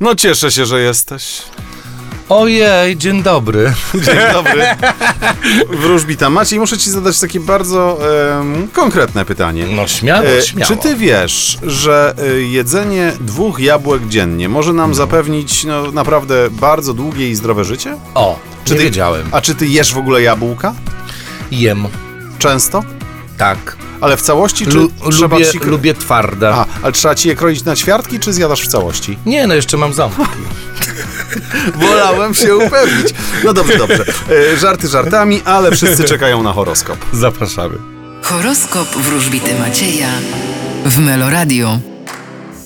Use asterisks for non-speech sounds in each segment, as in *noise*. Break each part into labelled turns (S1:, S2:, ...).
S1: No cieszę się, że *laughs* jesteś.
S2: Ojej, dzień dobry.
S1: Dzień dobry. Wróżbita Maciej, muszę ci zadać takie bardzo em, konkretne pytanie.
S2: No śmiało,
S1: E,
S2: śmiało.
S1: Czy ty wiesz, że e, jedzenie dwóch jabłek dziennie może nam zapewnić no, naprawdę bardzo długie i zdrowe życie?
S2: O,
S1: Czy
S2: nie
S1: ty
S2: wiedziałem.
S1: A czy ty jesz w ogóle jabłka?
S2: Jem,
S1: Często?
S2: tak.
S1: Ale w całości? Czy
S2: Lu-
S1: trzeba
S2: lubię,
S1: ci...
S2: lubię twarde.
S1: A, ale trzeba ci je kroić na ćwiartki, czy zjadasz w całości?
S2: Nie, no jeszcze mam
S1: *laughs*
S2: ząb.
S1: Wolałem się upewnić. No dobrze, dobrze. E, Żarty żartami, ale
S2: *laughs*
S1: wszyscy czekają na horoskop.
S2: Zapraszamy.
S3: Horoskop wróżbity Macieja w Meloradio.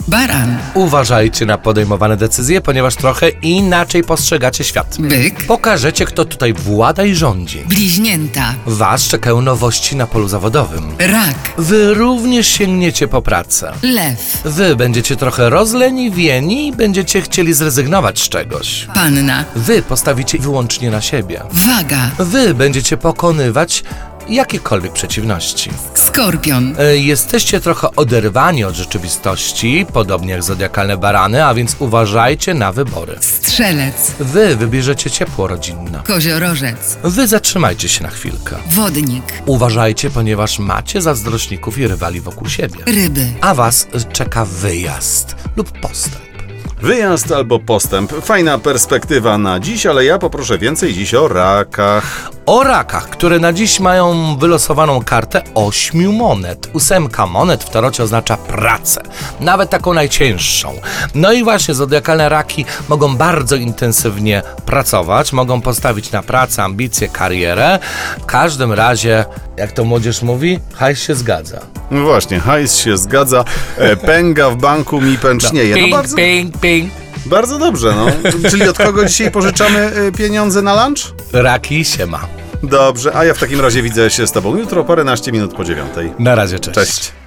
S3: Baran,
S2: Uważajcie na podejmowane decyzje, ponieważ trochę inaczej postrzegacie świat.
S3: byk,
S2: Pokażecie, kto tutaj włada i rządzi.
S3: bliźnięta,
S2: Was czekają nowości na polu zawodowym.
S3: rak,
S2: Wy również sięgniecie po pracę.
S3: lew,
S2: Wy będziecie trochę rozleniwieni i będziecie chcieli zrezygnować z czegoś.
S3: panna,
S2: Wy postawicie wyłącznie na siebie.
S3: waga,
S2: Wy będziecie pokonywać jakiekolwiek przeciwności.
S3: skorpion,
S2: E, Jesteście trochę oderwani od rzeczywistości, podobnie jak zodiakalne barany, a więc uważajcie na wybory.
S3: strzelec,
S2: Wy wybierzecie ciepło rodzinne.
S3: koziorożec,
S2: Wy zatrzymajcie się na chwilkę.
S3: wodnik,
S2: Uważajcie, ponieważ macie zazdrośników i rywali wokół siebie.
S3: ryby,
S2: A was czeka wyjazd lub postęp.
S1: Wyjazd albo postęp. Fajna perspektywa na dziś, ale ja poproszę więcej dziś o rakach.
S2: O rakach, które na dziś mają wylosowaną kartę ośmiu monet. Ósemka monet w tarocie oznacza pracę, nawet taką najcięższą. No i właśnie zodiakalne raki mogą bardzo intensywnie pracować, mogą postawić na pracę, ambicje, karierę. W każdym razie, jak to młodzież mówi, hajs się zgadza.
S1: No właśnie, hajs się zgadza, e, pęga w banku mi pęcznieje. No
S2: ping,
S1: bardzo,
S2: ping, ping.
S1: bardzo dobrze, no. Czyli od kogo dzisiaj pożyczamy e, pieniądze na lunch?
S2: Raki się ma.
S1: Dobrze, a ja w takim razie widzę się z tobą jutro, paręnaście minut po dziewiątej.
S2: Na razie, cześć.
S1: Cześć.